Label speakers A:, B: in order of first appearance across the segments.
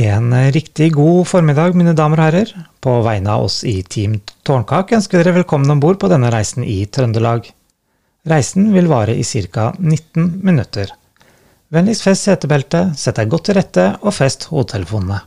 A: En riktig god formiddag, mine damer og herrer. På vegne av oss i Team Tårnkak ønsker vi dere velkommen om bord på denne reisen i Trøndelag. Reisen vil vare i ca. 19 minutter. Vennligst fest setebeltet, sett deg godt til rette og fest hodetelefonene.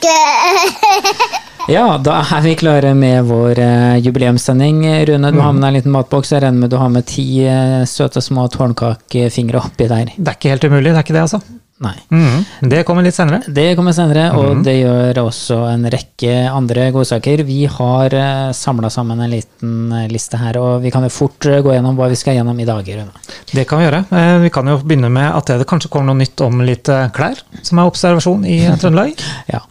B: Blomkake!
C: Ja, da er vi klare med vår eh, jubileumssending. Rune, du har med deg en liten matboks. Jeg regner med du har med ti eh, søte små tårnkakefingre oppi der.
A: Det er ikke helt umulig, det er ikke det, altså.
C: Nei.
A: Mhm, Det kommer litt senere.
C: Det kommer senere, og det gjør også en rekke andre godsaker. Vi har eh, samla sammen en liten eh, liste her, og vi kan jo fort eh, gå gjennom hva vi skal gjennom i dag, Rune.
A: Det kan vi gjøre. Eh, Vi kan jo begynne med at det kanskje kommer noe nytt om litt eh, klær, som er observasjon i eh, Trøndelag.
C: Ja,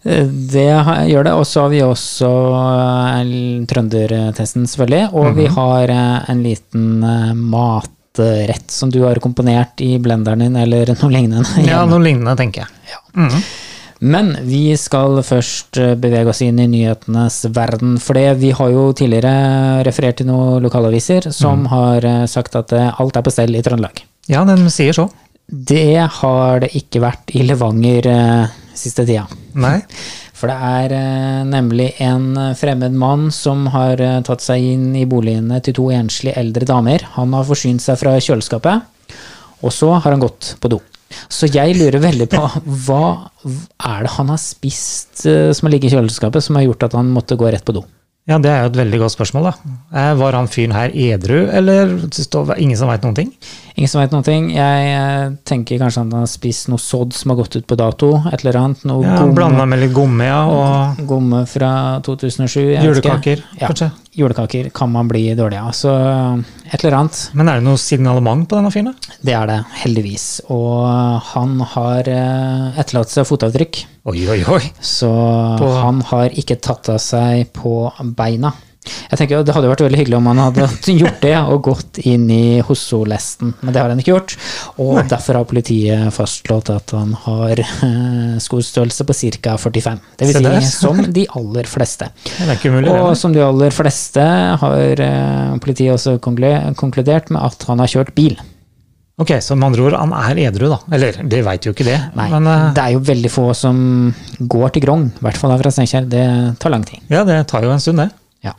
C: Eh, det ha- gjør det. Og så har vi også eh, l- trøndertesten, selvfølgelig. Og vi har eh, en liten eh, matrett som du har komponert i blenderen din, eller noe lignende.
A: Ja, noe lignende, tenker jeg.
C: Men vi skal først eh, bevege oss inn i nyhetenes verden. For det, vi har jo tidligere referert til noen lokalaviser som har eh, sagt at eh, alt er på stell i Trøndelag.
A: Ja, den sier så.
C: Det har det ikke vært i Levanger eh, siste tida.
A: Nei.
C: For det er eh, nemlig en eh, fremmed mann som har eh, tatt seg inn i boligene til to enslige eldre damer. Han har forsynt seg fra kjøleskapet, og så har han gått på do. Så jeg lurer veldig på hva er det han har spist eh, som har ligget i kjøleskapet, som har gjort at han måtte gå rett på do?
A: Ja, det er jo et veldig godt spørsmål, da. Eh, Var han fyren her edru, eller det står- ingen som veit noen ting?
C: Ingen som vet noen ting. Jeg eh, tenker kanskje han har spist noe sodd som har gått ut på dato. Et eller annet. Noe
A: Ja,
C: gomme-
A: Blanda med litt gomme, ja, og
C: Gomme fra 2007. jeg vet ikke.
A: julekaker, kanskje.
C: Julekaker kan man bli dårlig av. Så eh, et eller annet,
A: Men er det noe signalement på denne fyren, da?
C: det er det heldigvis. Og han har eh, etterlatt seg fotavtrykk,
A: Oi, oi, oi.
C: så han har ikke tatt av seg på beina. Jeg tenker jo, Det hadde jo vært veldig hyggelig om han hadde gjort det og gått inn i Hosso-lesten, men det har han ikke gjort. Og derfor har politiet fastslått at han har eh, skostørrelse på ca. 45. Det
A: Se
C: vil
A: der.
C: si som de aller fleste.
A: Det er ikke umulig, det.
C: Og
A: eller?
C: som de aller fleste har eh, politiet også konkle- konkludert med at han har kjørt bil.
A: Ok, så med andre ord, han er edru, da. Eller, de veit jo ikke det,
C: Nei,
A: men eh,
C: det er jo veldig få som går til Grong, i hvert fall her fra Steinkjer. Det tar lang tid.
A: ja, det tar jo en stund, det.
C: Ja.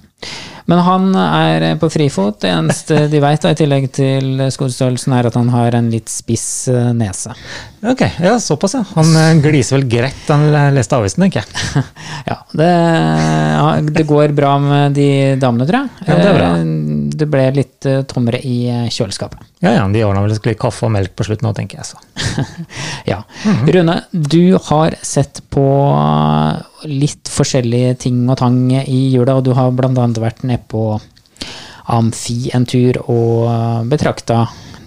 C: Men han er eh, på frifot. Det eneste de veit, i tillegg til skostørrelsen, er at han har en litt spiss eh, nese.
A: Ok, ja, såpass, ja. Han eh, gliser vel greit, han leste avisen, tenker jeg.
C: Ja, det, det går bra med de damene, tror jeg.
A: Ja, det er bra.
C: Eh, det ble litt eh, tommere i eh, kjøleskapet.
A: Ja, ja, de ordna vel litt kaffe og melk på slutten nå, tenker jeg. så.
C: Ja. Rune, du har sett på litt forskjellige ting og tang i jula, og du har bl.a. vært nede på Amfi en tur og betrakta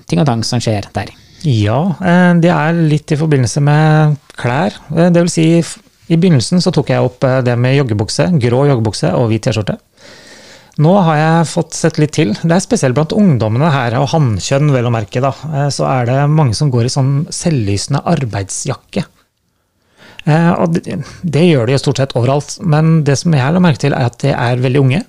C: ting og tang som skjer der.
A: Ja, eh, det er litt i forbindelse med klær. Eh, Det vil si, f- i begynnelsen så tok jeg opp eh, det med joggebukse, grå joggebukse og hvit T-skjorte. Nå har jeg fått sett litt til. Det er spesielt blant ungdommene her, og hannkjønn vel å merke, da. eh, Så er det mange som går i sånn selvlysende arbeidsjakke. Eh, Og det, det gjør de jo stort sett overalt, men det som jeg la merke til, er at de er veldig unge.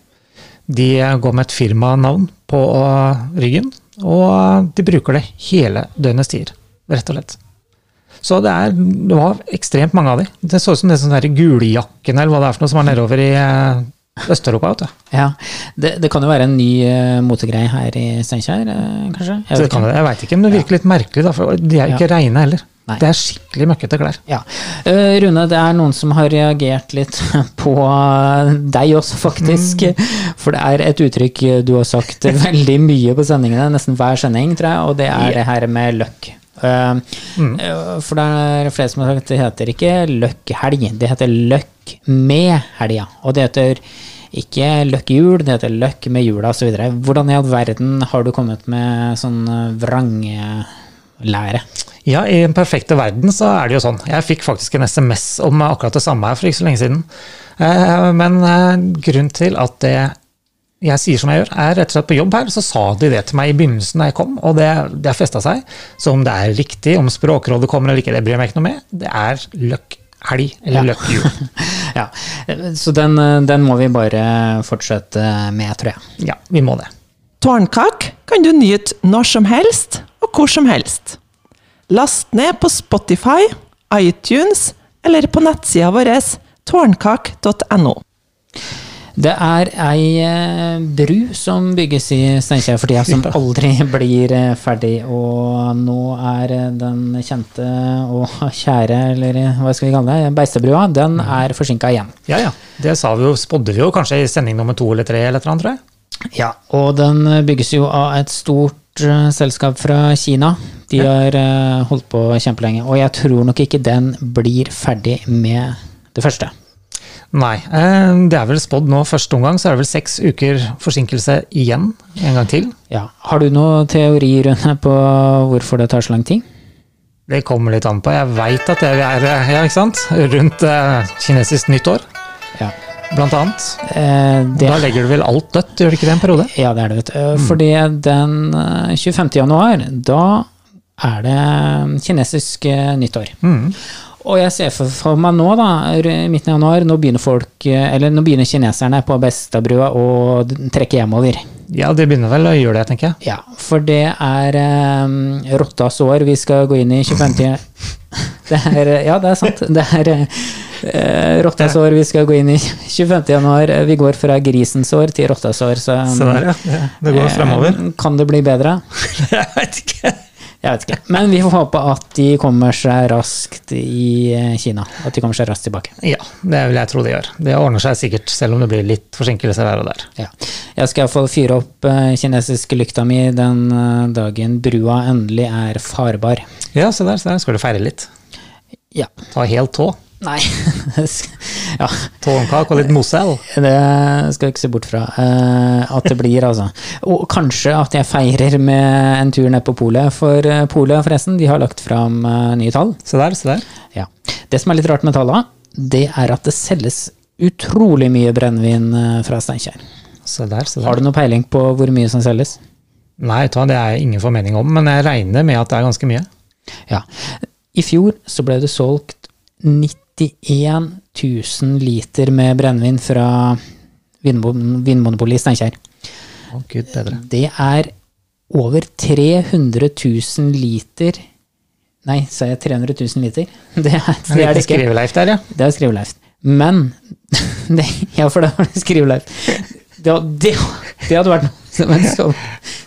A: De går med et firmanavn på eh, ryggen, og de bruker det hele døgnets tider, rett og slett. Så det, er, det var ekstremt mange av de. Det så ut som det sånn der guljakken eller hva det er for noe som er nedover i eh, Øst-Europa. vet du.
C: Ja, det, det kan jo være en ny eh, motegreie her i Steinkjer, eh, kanskje? Jeg
A: Så
C: vet
A: det kan,
C: ikke.
A: jeg veit ikke, men det virker litt merkelig, da, for de er ikke reine heller.
C: Nei.
A: Det er skikkelig møkkete klær.
C: Ja. Eh, Rune, det er noen som har reagert litt på eh, deg også, faktisk. For det er et uttrykk du har sagt veldig mye på sendingene, nesten hver sending, tror jeg, og det er det her med løkk. Eh, eh, For det er flere som har sagt at det heter ikke løkkhelg, det heter løkk med helga. Og det heter ikke løkkehjul, det heter løkk med jula osv. Hvordan i all verden har du kommet med sånn eh, vranglære?
A: Ja, i den perfekte verden så er det jo sånn. Jeg fikk faktisk en SMS om akkurat det samme her for ikke så lenge siden. Eh, Men eh, grunnen til at det jeg sier som jeg gjør, er rett og slett på jobb her, så sa de det til meg i begynnelsen da jeg kom, og det, det har festa seg. Så om det er riktig, om Språkrådet kommer eller ikke, det bryr jeg meg ikke noe med. Det er løkk elg eller løpehjul.
C: Ja. Så den, eh, den må vi bare fortsette med, tror jeg.
A: Ja, vi må det.
D: Tårnkak kan du nyte når som helst og hvor som helst. Last ned på Spotify, iTunes eller på nettsida vår tårnkak.no.
C: Det er ei eh, bru som bygges i Steinkjer for tida, som aldri blir eh, ferdig. Og nå er eh, den kjente og kjære, eller eh, hva skal vi kalle det, Beistebrua, den er forsinka igjen.
A: Ja, ja. Det sa vi jo, spådde vi jo kanskje i sending nummer to eller tre eller et eller annet, tror jeg.
C: Ja, og den eh, bygges jo av et stort eh, selskap fra Kina. De har eh, holdt på kjempelenge, og jeg tror nok ikke den blir ferdig med det første.
A: Nei. eh, Det er vel spådd nå første omgang, så er det vel seks uker forsinkelse igjen. En gang til.
C: Ja. Har du noen teori rundt på hvorfor det tar så lang tid?
A: Det kommer litt an på. Jeg veit at det er eh, ja, ikke sant? rundt eh, kinesisk nyttår,
C: Ja.
A: blant annet.
C: Eh, det
A: Da legger du vel alt dødt, gjør du ikke det, en periode?
C: Ja, det er det, vet du. Eh, Fordi den eh, 25. januar, da er det eh, kinesisk eh, nyttår. Og jeg ser for, for meg nå, da, r- i midten av januar, nå begynner folk, eh, eller nå begynner kineserne på Bestabrua å d- trekke hjemover.
A: Ja, det begynner vel å gjøre det, tenker jeg.
C: Ja, for det er eh, rottas år vi skal gå inn i 25. Det er, ja, det er sant. Det er eh, rottas år vi skal gå inn i 25. januar. Vi går fra grisens år til rottas år. Så,
A: Se der, ja. Det, det går fremover.
C: Eh, Kan det bli bedre?
A: Jeg vet ikke.
C: Jeg vet ikke. Men vi får håpe at de kommer seg raskt i eh, Kina. At de kommer seg raskt tilbake.
A: Ja, det vil jeg tro det gjør. Det ordner seg sikkert, selv om det blir litt forsinkelser her og der.
C: Ja. Jeg skal iallfall fyre opp eh, kinesiske lykta mi den eh, dagen brua endelig er farbar.
A: Ja, se der, se der. Skal du feire litt?
C: Ja.
A: Ta hel tå.
C: Nei Ja.
A: Tårnkake og litt mosell.
C: Det skal jeg ikke se bort fra eh, at det blir, altså. Og kanskje at jeg feirer med en tur ned på polet, for eh, polet forresten, de har lagt fram eh, nye tall.
A: Se der, se der.
C: Ja. Det som er litt rart med tallene, det er at det selges utrolig mye brennevin eh, fra Steinkjer.
A: Se der, se der.
C: Har du noe peiling på hvor mye som selges?
A: Nei, vet du hva, det er jeg ingen formening om, men jeg regner med at det er ganske mye.
C: Ja. I fjor så ble det solgt 91 000 liter med brennevin fra Vinmo- Vinmonopolet i Steinkjer.
A: Å, gud bedre.
C: Det er over 300 000 liter Nei, sa jeg 300 000 liter? Det er det, er det ikke.
A: Skriveleif der, ja.
C: Det er skriveleif. Men det, Ja, for det var det skriveleif. Det, var- det, det hadde vært noe. som en sånn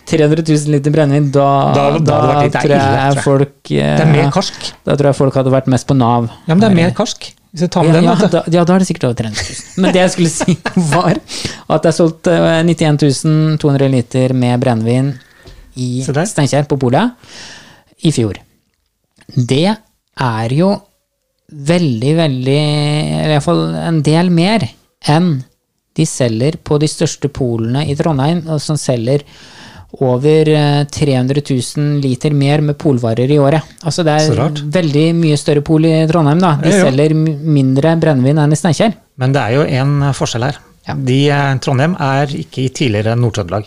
C: 300 000 liter brennevin, da,
A: Da- da hadde det vært litt- det er
C: tror jeg,
A: ille, tror jeg.
C: folk eh,
A: Det er mer karsk.
C: Da tror jeg folk hadde vært mest på Nav.
A: Ja, men det er mer karsk. Hvis jeg tar
C: Ja,
A: med den,
C: ja,
A: vet du.
C: da, ja, da er det sikkert over 300 000. Men det jeg skulle si, var at det er solgt eh, 91 200 liter med brennevin i
A: Se der.
C: Steinkjer, på Polet, i fjor. Det er jo veldig, veldig Eller iallfall en del mer enn de selger på de største polene i Trondheim, og som selger over eh, 300 000 liter mer med polvarer i året. Altså det
A: Så
C: er
A: rart.
C: veldig mye større pol i Trondheim, da. De
A: Ja, ja.
C: selger m- mindre brennevin enn i Steinkjer.
A: Men det er jo en eh, forskjell her.
C: Ja.
A: De, eh, Trondheim er ikke i tidligere Nord-Trøndelag.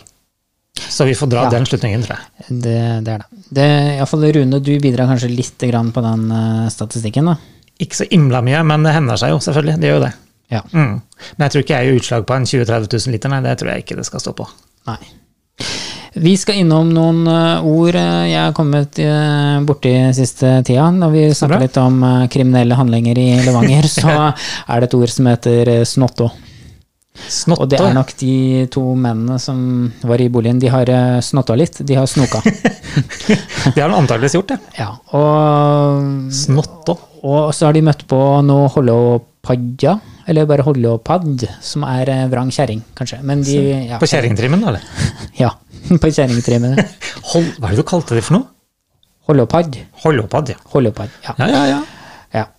A: Så vi får dra
C: Ja.
A: den slutningen, tror jeg.
C: Det, det er det. det i alle fall, Rune, du bidrar kanskje litt grann på den eh, statistikken, da.
A: Ikke så imla mye, men det hender seg jo, selvfølgelig. Det gjør jo det.
C: Ja.
A: Mm. Men jeg tror ikke jeg gir utslag på en 20 000-30 000 liter, nei. Det tror jeg ikke det skal stå på.
C: Nei. Vi skal innom noen eh, ord eh, jeg har kommet eh, borti siste tida. Når vi
A: bra.
C: snakker litt om eh, kriminelle handlinger i Levanger, så er det et ord som heter eh, snotto.
A: Snotto.
C: Og det er nok de to mennene som var i boligen, de har eh, snotta litt. De har snoka.
A: Det har han antakeligvis gjort, det.
C: Ja, og,
A: Snotto.
C: og så har de møtt på noe hollopadja, eller bare hollopad, som er eh, vrang kjerring, kanskje. Men de, ja,
A: På kjerringtrimmen, eller?
C: Ja, på kjerringtrimmen.
A: Hold, hva er det du kalte det for noe?
C: Hollopad.
A: Hollopadd, ja.
C: Hollopad, ja.
A: Ja, ja, ja.
C: ja.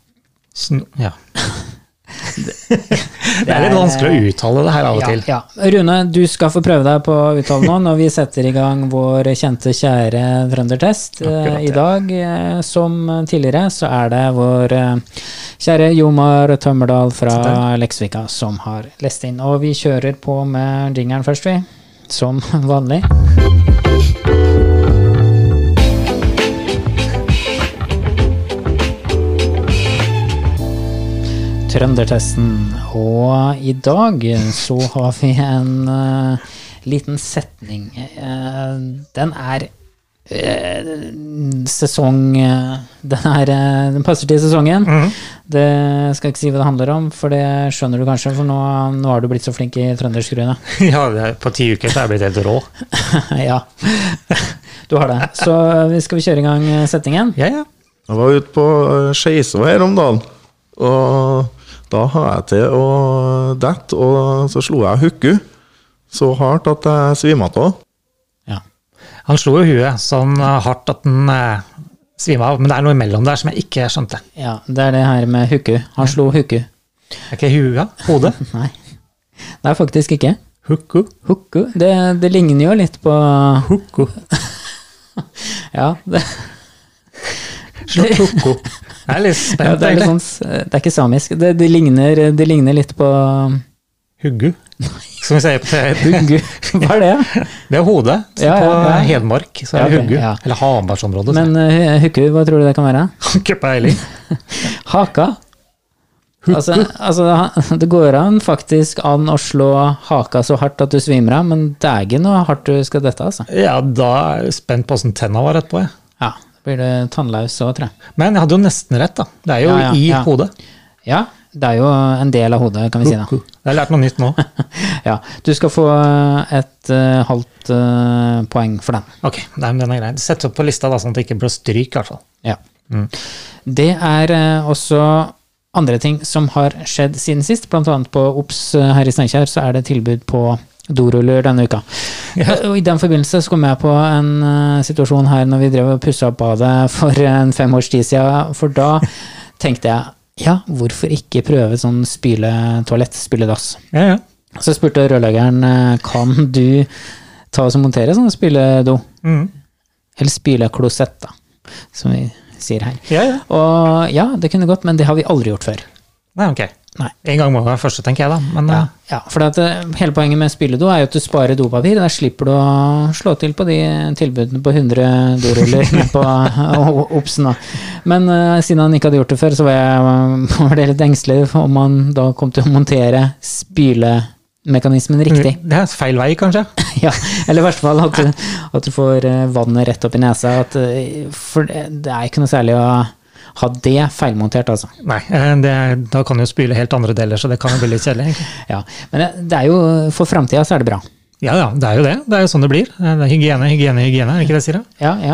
A: Sn ja. det er litt vanskelig å uttale det her av og
C: Ja,
A: til.
C: ja. Rune, du skal få prøve deg på å uttale nå når vi setter i gang vår kjente, kjære trøndertest.
A: Akkurat,
C: Eh, I
A: ja.
C: dag, eh, som tidligere, så er det vår eh, kjære Jomar Tømmerdal fra Leksvika som har lest inn. Og vi kjører på med jingeren først, vi. Som vanlig. Trøndertesten. Og i dag så har vi en eh, liten setning. Eh, den er eh, sesong eh, den, er, eh, den passer til sesongen. Det skal jeg ikke si hva det handler om, for det skjønner du kanskje, for nå, nå har du blitt så flink i trøndersk, Rune.
A: Ja, det er- på ti uker så er jeg blitt helt rå.
C: ja. Du har det. Så eh, skal vi kjøre i gang eh, setningen?
A: Ja, ja.
E: Jeg var ute på eh, Skeisvær her om dagen, og da har jeg til å dette, og så slo jeg hukku så hardt at jeg svimte av.
C: Ja.
A: Han slo jo huet sånn eh, hardt at den eh, svima av, men det er noe imellom der som jeg ikke skjønte.
C: ja. Det er det her med hukku. Han slo hukku.
A: Er ikke hua? Hodet?
C: Nei. Nei, faktisk ikke.
A: Hukku?
C: Hukku. Det, det ligner jo litt på
A: Hukku.
C: Ja, det,
A: Slå hukku. Jeg er litt spent,
C: ja, det, er litt
A: egentlig.
C: sånn, s- det er ikke samisk. Det, det, ligner, det ligner litt på eh,
A: Huggu. Som vi sier på TV.
C: Huggu. Hva er det?
A: Det er hodet. Så
C: Ja, ja,
A: på eh,
C: ja.
A: Hedmark så er det
C: Ja, ok,
A: huggu.
C: ja.
A: Eller Hamarområdet.
C: Men eh, hukku, hva tror du det kan være? Haka. Altså, altså, han- det går an faktisk an å slå haka så hardt at du svimer av, men det er ikke noe hardt du skal dette, altså.
A: Ja, da er jeg spent på åssen tenna var etterpå. jeg.
C: Ja, da blir du tannløs òg, tror jeg.
A: Men jeg hadde jo nesten rett, da. Det er jo
C: Ja, ja,
A: i
C: ja.
A: hodet.
C: Ja, det er jo en del av hodet, kan vi si da.
A: Hukku. Jeg har lært noe nytt nå.
C: Ja, du skal få et eh, halvt eh, poeng for den.
A: Ok, nei, men den er grei. Sett opp på lista, da, sånn at det ikke blir stryk, i hvert fall.
C: Ja. Det er eh, også andre ting som har skjedd siden sist, blant annet på OBS eh, her i Steinkjer, så er det tilbud på doruller denne uka. Eh, Og I den forbindelse så kom jeg på en eh, situasjon her når vi drev og pussa opp badet for en fem års tid siden, for da tenkte jeg ja, hvorfor ikke prøve sånn spyletoalett, spyledass?
A: Ja, ja.
C: Så spurte rørleggeren eh, kan du ta oss og montere sånn spyledo,
A: Mm.
C: eller spyleklosett, da, som vi sier her.
A: ja, ja.
C: Og ja, det kunne gått, men det har vi aldri gjort før.
A: Nei, ok.
C: Nei.
A: En gang må det være første, tenker jeg, da. Men
C: Ja,
A: eh,
C: ja for at, eh, hele poenget med spyledo er jo at du sparer dopapir. Der slipper du å slå til på de tilbudene på 100 doruller nede på eh, Obsen. da. Men eh, siden han ikke hadde gjort det før, så var, jeg, var det litt engstelig for om han da kom til å montere spylemekanismen riktig.
A: Det er feil vei, kanskje.
C: Ja, eller i hvert fall at du, at du får eh, vannet rett opp i nesa. At, eh, for det det er ikke noe særlig å ha det feilmontert, altså.
A: Nei, eh, det, da kan jo spyle helt andre deler, så det kan jo bli litt kjedelig. egentlig.
C: Ja, men eh, det- det er jo, for framtida så er det bra.
A: Ja ja, det er jo det. Det er jo sånn det blir. Eh, Det er hygiene, hygiene, hygiene. Er det ikke det jeg sier? da?
C: Ja, ja.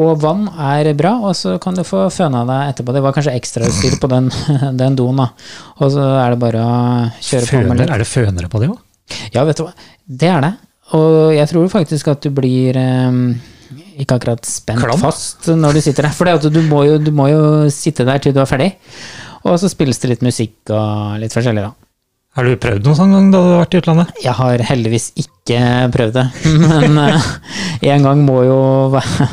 C: Og vann er bra, og så kan du få føna deg etterpå. Det var kanskje ekstrautstyr på den, den doen, da. Og så er det bare å kjøre på med
A: Føner,
C: litt.
A: er det fønere på det òg?
C: Ja, vet du hva. Det er det. Og jeg tror faktisk at du blir eh, ikke akkurat spent
A: Klam.
C: fast når du sitter der. For det at du, må jo, du må jo sitte der til du er ferdig. Og så spilles det litt musikk og litt forskjellig, da.
A: Har du prøvd noe sånn gang da du har vært i utlandet?
C: Jeg har heldigvis ikke prøvd det, men eh, en gang må jo væ-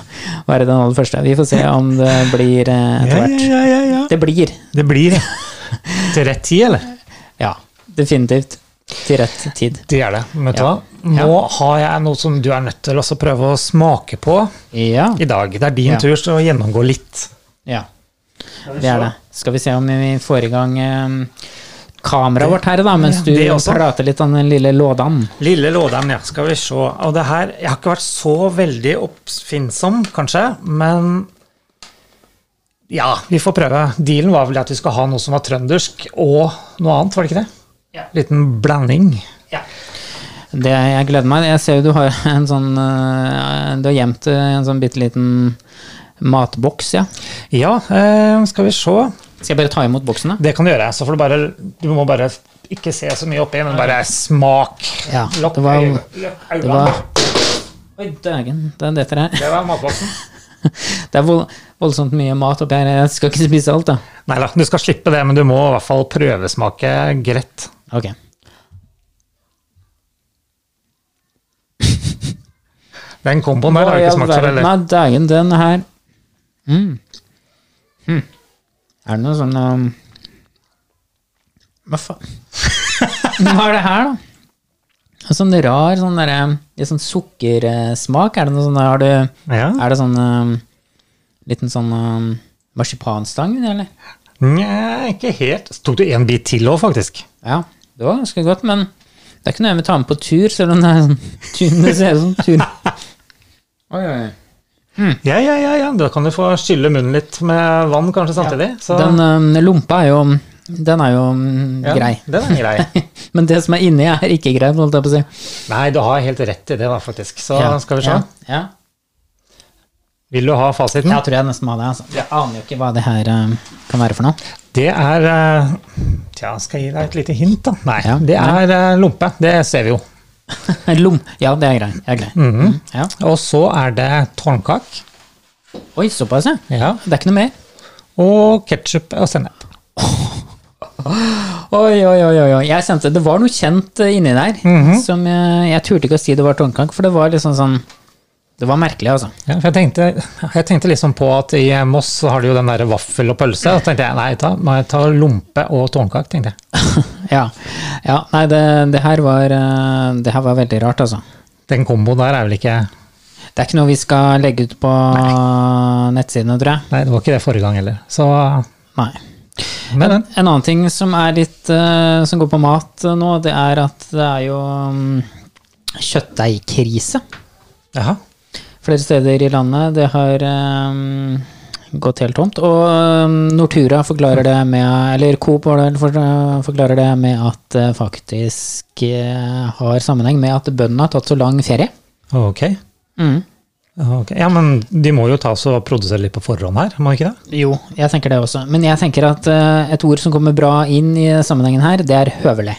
C: være den aller første. Vi får se om det blir eh, etter hvert.
A: ja, ja.
C: Det blir.
A: Det blir ja. til rett tid, eller?
C: Ja, definitivt. Til rett tid.
A: Det er det. Men vet du
C: Ja.
A: hva? Nå har jeg noe som du er nødt til å prøve å smake på
C: Ja.
A: i dag. Det er din
C: Ja.
A: tur til å gjennomgå litt.
C: ja. Det er det. Skal vi se om vi får i gang eh, kameraet vårt her, da, mens du
A: det også.
C: prater litt om den lille lådan.
A: Lille Låderen, ja. Skal vi se. Og det her Jeg har ikke vært så veldig oppfinnsom, kanskje, men ja, vi får prøve. Dealen var vel at vi skal ha noe som var trøndersk og noe annet, var det ikke det?
C: Ja.
A: Liten blanding.
C: Det jeg gleder meg. Jeg ser jo du har en sånn eh, Du har gjemt eh, en sånn bitte liten matboks, ja.
A: Ja, eh, skal vi se.
C: Skal jeg bare ta imot boksen, da?
A: Det kan du gjøre. Så får du bare Du må bare ikke se så mye oppi, men bare smak.
C: Ja,
A: Lokk
C: det var-
A: øy- lokk
C: Det
A: øynene.
C: var Oi, dægen. Det er dette her.
A: Det var matboksen.
C: Det er vold, voldsomt mye mat oppi her. Jeg skal ikke spise alt, da.
A: Nei da, du skal slippe det, men du må i hvert fall prøvesmake greit.
C: Ok.
A: Den komboen der har
C: Hva
A: du
C: i
A: ikke
C: all
A: smakt før,
C: verden
A: eller?
C: av dagen den her mm. Hm. Er det noe sånn um... Hva faen? Hva er det her, da? En sånn rar sånn derre Litt sånn sukkersmak. Er det noe sånn Har du
A: Ja.
C: Er det sånn um, Liten sånn um, marsipanstang, eller?
A: Nja, ikke helt. Så tok du en bit til òg, faktisk.
C: Ja, det var ganske godt, men det er ikke noe jeg vil ta med på tur, selv om det er sånn tur, det ser ut som tur. Oi, oi, oi.
A: Ja, ja, ja, ja. Da kan du få skylle munnen litt med vann kanskje samtidig. Så,
C: Den øhm, lompa er jo Den er jo øhm,
A: ja,
C: grei.
A: Den er grei.
C: Men det som er inni, er ikke grei, holdt jeg på å si.
A: Nei, du har helt rett i det, da, faktisk. Så
C: Ja,
A: skal vi se.
C: Ja, ja.
A: Vil du ha fasiten?
C: Jeg tror jeg nesten må ha det. Altså. Jeg aner jo ikke hva det her øhm, kan være for noe.
A: Det er eh, Tja, skal jeg gi deg et lite hint, da? Nei,
C: Ja,
A: det er eh, lompe. Det ser vi jo.
C: Lom. Ja, det er grei. Det er grei. Mm-hmm. ja.
A: Og så er det tårnkak.
C: Oi, såpass, ja.
A: Ja.
C: Det er ikke noe mer.
A: Og ketsjup og sennep.
C: Oi, oi, oi, oi, oi. Jeg kjente, det var noe kjent eh, inni der, som jeg, jeg turte ikke å si det var tårnkak, for det var liksom sånn, det var merkelig altså.
A: Ja, for jeg tenkte, jeg tenkte liksom på at i Moss så har de jo den der vaffel og pølse. Og så tenkte jeg nei, ta, må jeg ta lompe og tårnkak, tenkte jeg.
C: Ja, ja nei, det, det, her var, eh, det her var veldig rart altså.
A: Den komboen der er vel ikke
C: Det er ikke noe vi skal legge ut på nettsidene, tror jeg.
A: Nei, det var ikke det forrige gang heller. Så
C: Nei.
A: Men, men.
C: En annen ting som er litt, eh, som går på mat eh, nå, det er at det er jo mm, kjøttdeigkrise.
A: Jaha.
C: flere steder i landet. Det har ehm, gått helt tomt. Og ehm, Nortura forklarer det med Eller Coop var det vel, for- eh, forklarer det med at det faktisk eh, har sammenheng med at bøndene har tatt så lang ferie.
A: Ok. ok. Ja, men de må jo ta oss og produsere litt på forhånd her, må de ikke det?
C: Jo, jeg tenker det også. Men jeg tenker at eh, et ord som kommer bra inn i sammenhengen her, det er høvelig.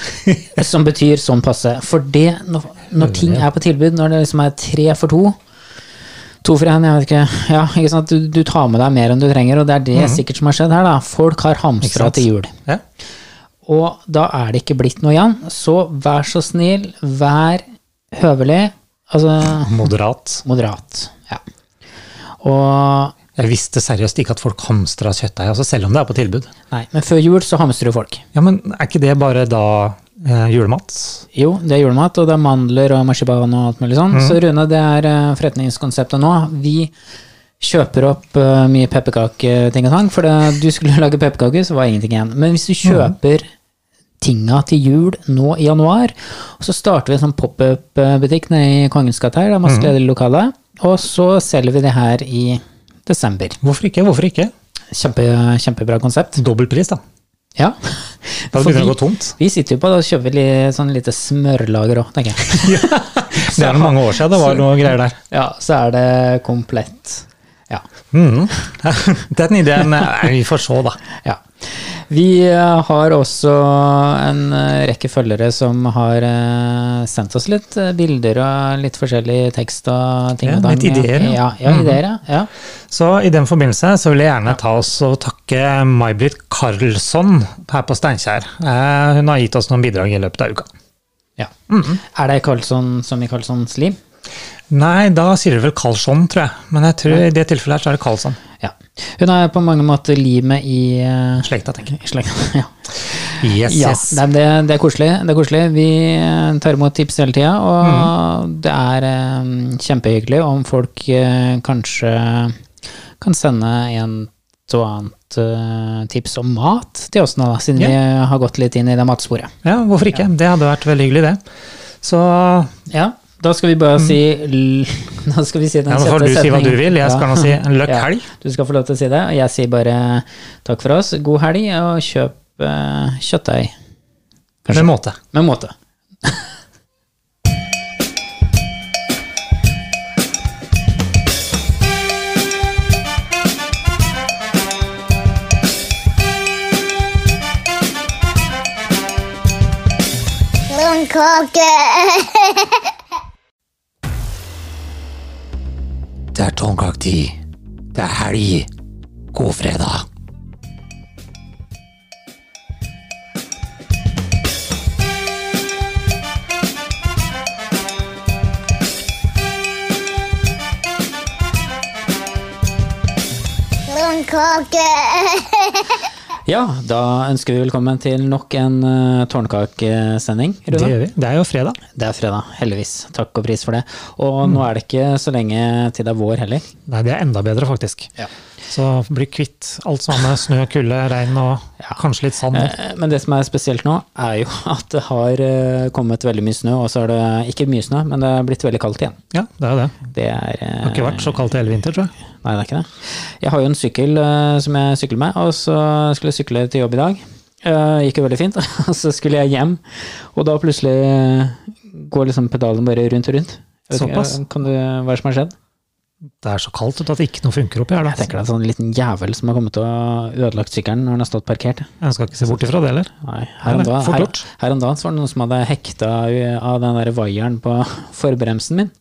C: som betyr sånn passe. For det, når, når ting er på tilbud, når det liksom er tre for to To for én, jeg vet ikke. Ja, ikke sant? Du, du tar med deg mer enn du trenger, og det er det sikkert som har skjedd her. da. Folk
A: Mhm.
C: har
A: Ikke
C: hamstra
A: sant?
C: til jul.
A: Ja.
C: Og da er det ikke blitt noe igjen. Så vær så snill, vær høvelig. Altså
A: Moderat.
C: moderat. Ja. Og
A: Jeg visste seriøst ikke at folk hamstra kjøttdeig, altså selv om det er på tilbud.
C: Nei, men før jul så hamstrer jo folk.
A: Ja, men er ikke det bare da eh, julemat?
C: Jo, det er julemat, og det er mandler og marsipan og alt
A: Mhm.
C: mulig sånn. Så Rune, det er eh, forretningskonseptet nå. Vi kjøper opp eh, mye pepperkaketing og tang, for det, du skulle lage pepperkaker, så var ingenting igjen. Men hvis du
A: Mhm.
C: kjøper tinga til jul nå i januar, og så starter vi en sånn pop-up-butikk nede i Kongens gate her, det er masse
A: Mhm.
C: ledige lokaler, og så selger vi det her i desember.
A: Hvorfor ikke? Hvorfor ikke?
C: Kjempe, kjempebra konsept.
A: Dobbel pris, da.
C: Ja.
A: Da
C: For
A: begynner det å
C: vi-
A: gå tomt.
C: Vi sitter jo på det og kjøper litt, sånn lite smørlager òg, tenker jeg.
A: Det er mange år siden det var noe greier der.
C: Ja, så er det komplett. Ja.
A: Mhm. Den ideen eh, Nei, vi får se, da.
C: ja. Vi eh, har også en eh, rekke følgere som har eh, sendt oss litt eh, bilder og litt forskjellig tekst og ting
A: Ja,
C: og tang.
A: litt ideer, ja. Mhm.
C: Ja, ja, ideer, ja. ja.
A: Så i den forbindelse så vil jeg gjerne ta oss og takke May-Britt Karlsson her på Steinkjer. Eh, Hun har gitt oss noen bidrag i løpet av uka.
C: ja.
A: Mhm.
C: Er det Karlsson som i Karlssons liv?
A: Nei, da sier du vel Karlsson, tror jeg. Men jeg tror i det tilfellet her så er det Karlsson.
C: Ja. Hun er på mange måter limet i eh,
A: Slekta, tenker jeg.
C: i slekta. Ja.
A: Yes,
C: Ja,
A: yes.
C: nei, men det, det, er koselig, det er koselig. Vi eh, tar imot tips hele tida, og
A: Mhm.
C: det er eh, kjempehyggelig om folk eh, kanskje kan sende en og annet eh, tips om mat til oss nå, da, siden
A: Ja.
C: vi har gått litt inn i det matsporet.
A: Ja, hvorfor ikke? Det hadde vært veldig hyggelig, det. Så
C: Ja, da skal vi bare si l- Da skal vi si den
A: Mhm. ja, nå får
C: sjette
A: du si hva du
C: setningen.
A: vil. Jeg skal
C: Ja.
A: nå si en løkk
C: Ja,
A: helg.
C: Du skal få lov til å si det, og jeg sier bare takk for oss, god helg, og kjøp eh, kjøttdeig
A: Med måte.
C: med måte.
B: Blomkake.
F: Det er tomkaktid. Det er helg. God fredag.
B: Blomkake.
C: Ja, da ønsker vi velkommen til nok en uh, tårnkakesending.
A: Det
C: Rune.
A: gjør vi. Det er jo fredag.
C: Det er fredag, heldigvis. Takk
A: Mm.
C: og pris for det. Og nå er det ikke så lenge til det er vår heller.
A: Nei, det er enda bedre, faktisk. Så bli kvitt alt som har med snø, kulde, regn og kanskje litt sand.
C: Eh, Men det som er spesielt nå, er jo at det har eh, kommet veldig mye snø, og så er det ikke mye snø, men det er blitt veldig kaldt igjen.
A: Ja, det er jo det.
C: Det er eh,
A: Det har ikke vært så kaldt i hele vinter, tror jeg.
C: Nei, det er ikke det. Jeg har jo en sykkel eh, som jeg sykler med, og så skulle jeg sykle til jobb i dag. Eh, gikk jo veldig fint. Og så skulle jeg hjem, og da plutselig eh, går liksom pedalen bare rundt og rundt. Jeg vet ikke, eh,
A: Såpass?
C: Kan du, hva er det som har skjedd?
A: Det er så kaldt vet du, at ikke noe funker oppi her.
C: Jeg
A: Da.
C: tenker det er en sånn liten jævel som har kommet og ødelagt sykkelen når den har stått parkert.
A: Jeg skal ikke se bort ifra det heller.
C: Nei, her
A: Nei,
C: om,
A: nei,
C: dagen,
A: fort
C: her,
A: gjort.
C: her om dagen så var det noen som hadde hekta u- av den der vaieren på forbremsen min.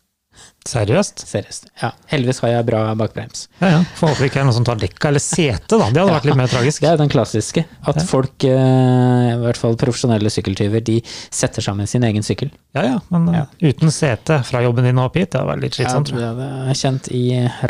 A: Seriøst.
C: Seriøst. Ja, heldigvis har jeg bra bakbrems.
A: Ja, ja. Får håpe det ikke er noen som tar dekka eller setet, da. Det hadde vært litt mer tragisk.
C: Det er jo den klassiske. At folk, eh, i hvert fall profesjonelle sykkeltyver, de setter sammen sin egen sykkel.
A: Ja, ja, men eh, uten sete fra jobben din og opp hit, det hadde vært litt slitsomt, tror jeg.
C: Ja, det er kjent i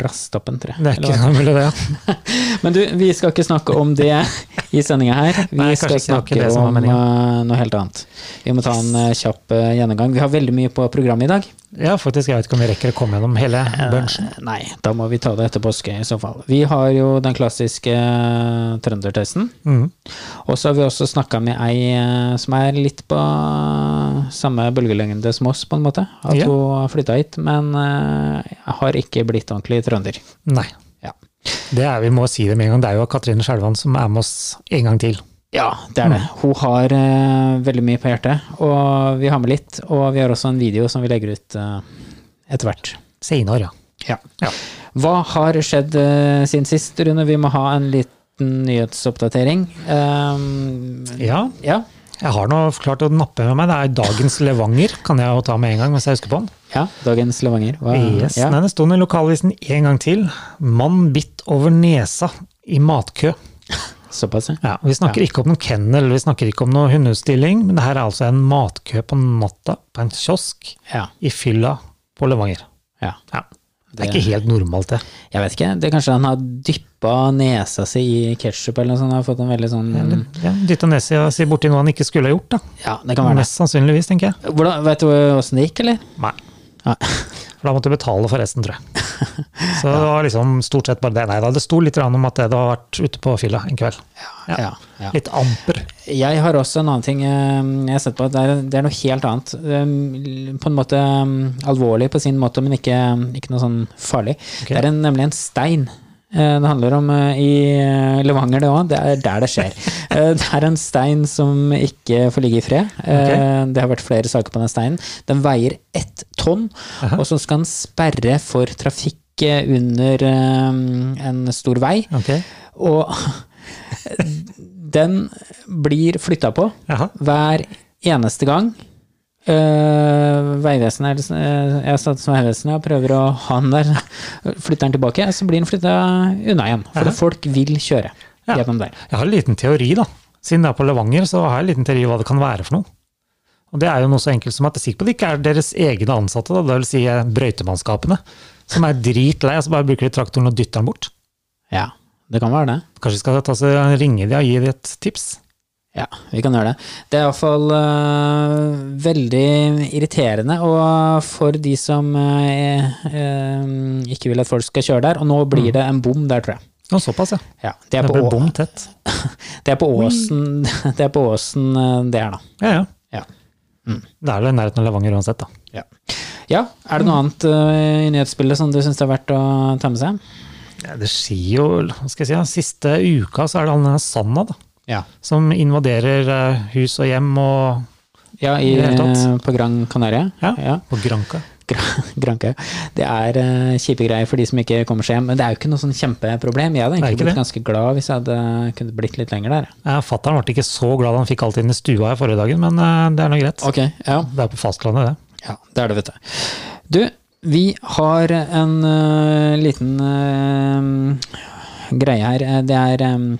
C: rastoppen, tror jeg.
A: Det er
C: Eller
A: ikke noe mulig, det.
C: hva? Men du, vi skal ikke snakke om det i sendinga her. Vi
A: Nei,
C: skal
A: kanskje ikke
C: snakke
A: det som var
C: om eh, noe helt annet. Vi må ta en eh, kjapp eh, gjennomgang. Vi har veldig mye på programmet i dag.
A: Ja, faktisk, jeg vet ikke om vi rekker å komme gjennom hele bunchen.
C: Eh, Nei, da må vi ta det etter påske i så fall. Vi har jo den klassiske eh, trøndertesten.
A: Mm.
C: Og så har vi også snakka med ei eh, som er litt på eh, samme bølgelengde som oss, på en måte. At
A: Ja.
C: hun har flytta hit, men eh, har ikke blitt ordentlig trønder.
A: Nei.
C: Ja.
A: Det er, vi må si det med en gang. Det er jo Katrine Skjelvan som er med oss en gang til.
C: Ja, det er det. Mm. Hun har eh, veldig mye på hjertet, og vi har med litt. Og vi har også en video som vi legger ut eh, etter hvert.
A: Seinere, ja.
C: Ja.
A: Ja.
C: Hva har skjedd eh, siden sist, Rune? Vi må ha en liten nyhetsoppdatering. Um,
A: Ja,
C: ja.
A: jeg har nå klart å nappe med meg. Det er dagens Levanger, kan jeg jo ta med en gang mens jeg husker på den.
C: ja. Dagens Levanger. Hva,
A: Yes,
C: ja.
A: Nei, det sto den i lokalavisen en gang til. Mann bitt over nesa i matkø.
C: Såpass, ja.
A: Ja, vi snakker ikke om noen kennel, vi snakker ikke om noen hundeutstilling, men det her er altså en matkø på natta på en kiosk
C: ja.
A: i fylla på Levanger.
C: ja.
A: Ja. Det er ikke helt normalt, det.
C: Jeg vet ikke. det er Kanskje han har dyppa nesa si i ketsjup eller noe sånt. Har fått en veldig sånn
A: Ja, Dytta nesa si borti noe han ikke skulle ha gjort, da.
C: Ja, det kan være det.
A: Mest sannsynligvis, tenker jeg.
C: Hvordan, vet du åssen det gikk, eller?
A: Nei.
C: Nei.
A: For da måtte jeg betale for resten, tror jeg. Så det var liksom stort sett bare det. Nei da, det sto litt grann om at det hadde vært ute på fylla en kveld. Ja.
C: Ja, ja.
A: Litt amper.
C: Jeg har også en annen ting eh, jeg har sett på. Det er, det er noe helt annet. Eh, På en måte eh, alvorlig på sin måte, men ikke, ikke noe sånn farlig. Det er en, nemlig en stein. Eh, Det handler om eh, i eh, Levanger, det òg. Det er der det skjer. Eh, Det er en stein som ikke får ligge i fred. Eh, Det har vært flere saker på den steinen. Den veier ett tonn, og så skal den sperre for trafikk eh, under eh, en stor vei.
A: Ok.
C: Og den blir flytta på
A: Jaha.
C: hver eneste gang. Uh, Vegvesenet eller eh, jeg har satt som Vegvesenet og prøver å ha den der. Flytter den tilbake, så blir den flytta unna igjen. For folk vil kjøre
A: Ja.
C: gjennom der.
A: Jeg har en liten teori, da. Siden det er på Levanger, så har jeg en liten teori hva det kan være for noe. Og det er jo noe så enkelt som at det sikkert på det ikke er deres egne ansatte, da, det vil si eh, brøytemannskapene, som er dritlei, og så bare bruker de traktoren og dytter den bort.
C: Ja, det kan være det.
A: Kanskje de skal ta seg og ringe de og gi de et tips?
C: Ja, vi kan gjøre det. Det er iallfall uh, veldig irriterende, og for de som eh, eh, ikke vil at folk skal kjøre der. Og nå blir det en bom der, tror jeg.
A: Ja, såpass, ja.
C: Ja, det er
A: Mm. Det
C: på,
A: ble
C: Å-
A: bom tett.
C: det er på Åsen, det er på Åsen eh, det er, da.
A: Ja, ja.
C: Ja.
A: Det er vel i nærheten av Levanger uansett, da.
C: Ja. ja. Er det noe
A: Mm.
C: annet eh, i nyhetsbildet som du syns det er verdt å ta med seg?
A: Ja, det skjer jo hva skal jeg si, ja, Siste uka så er det han der Sanna da,
C: Ja.
A: som invaderer eh, hus og hjem og
C: i,
A: I det hele tatt.
C: eh, på Gran Canaria.
A: ja, på Granca.
C: Gran- Gran Canaria. Det er eh, kjipe greier for de som ikke kommer seg hjem, men det er jo ikke noe sånn kjempeproblem. Jeg
A: Det er
C: hadde
A: ikke
C: egentlig blitt
A: det.
C: ganske glad hvis jeg hadde kunnet blitt litt lenger der.
A: Ja, Fattern ble ikke så glad han fikk alt inn i stua her forrige dagen, men eh, det er nå greit.
C: Ok, ja.
A: Det er på fastlandet, det.
C: Ja, det er det, vet du. Du, vi har en ø, liten ø, greie her. Eh, Det er ø,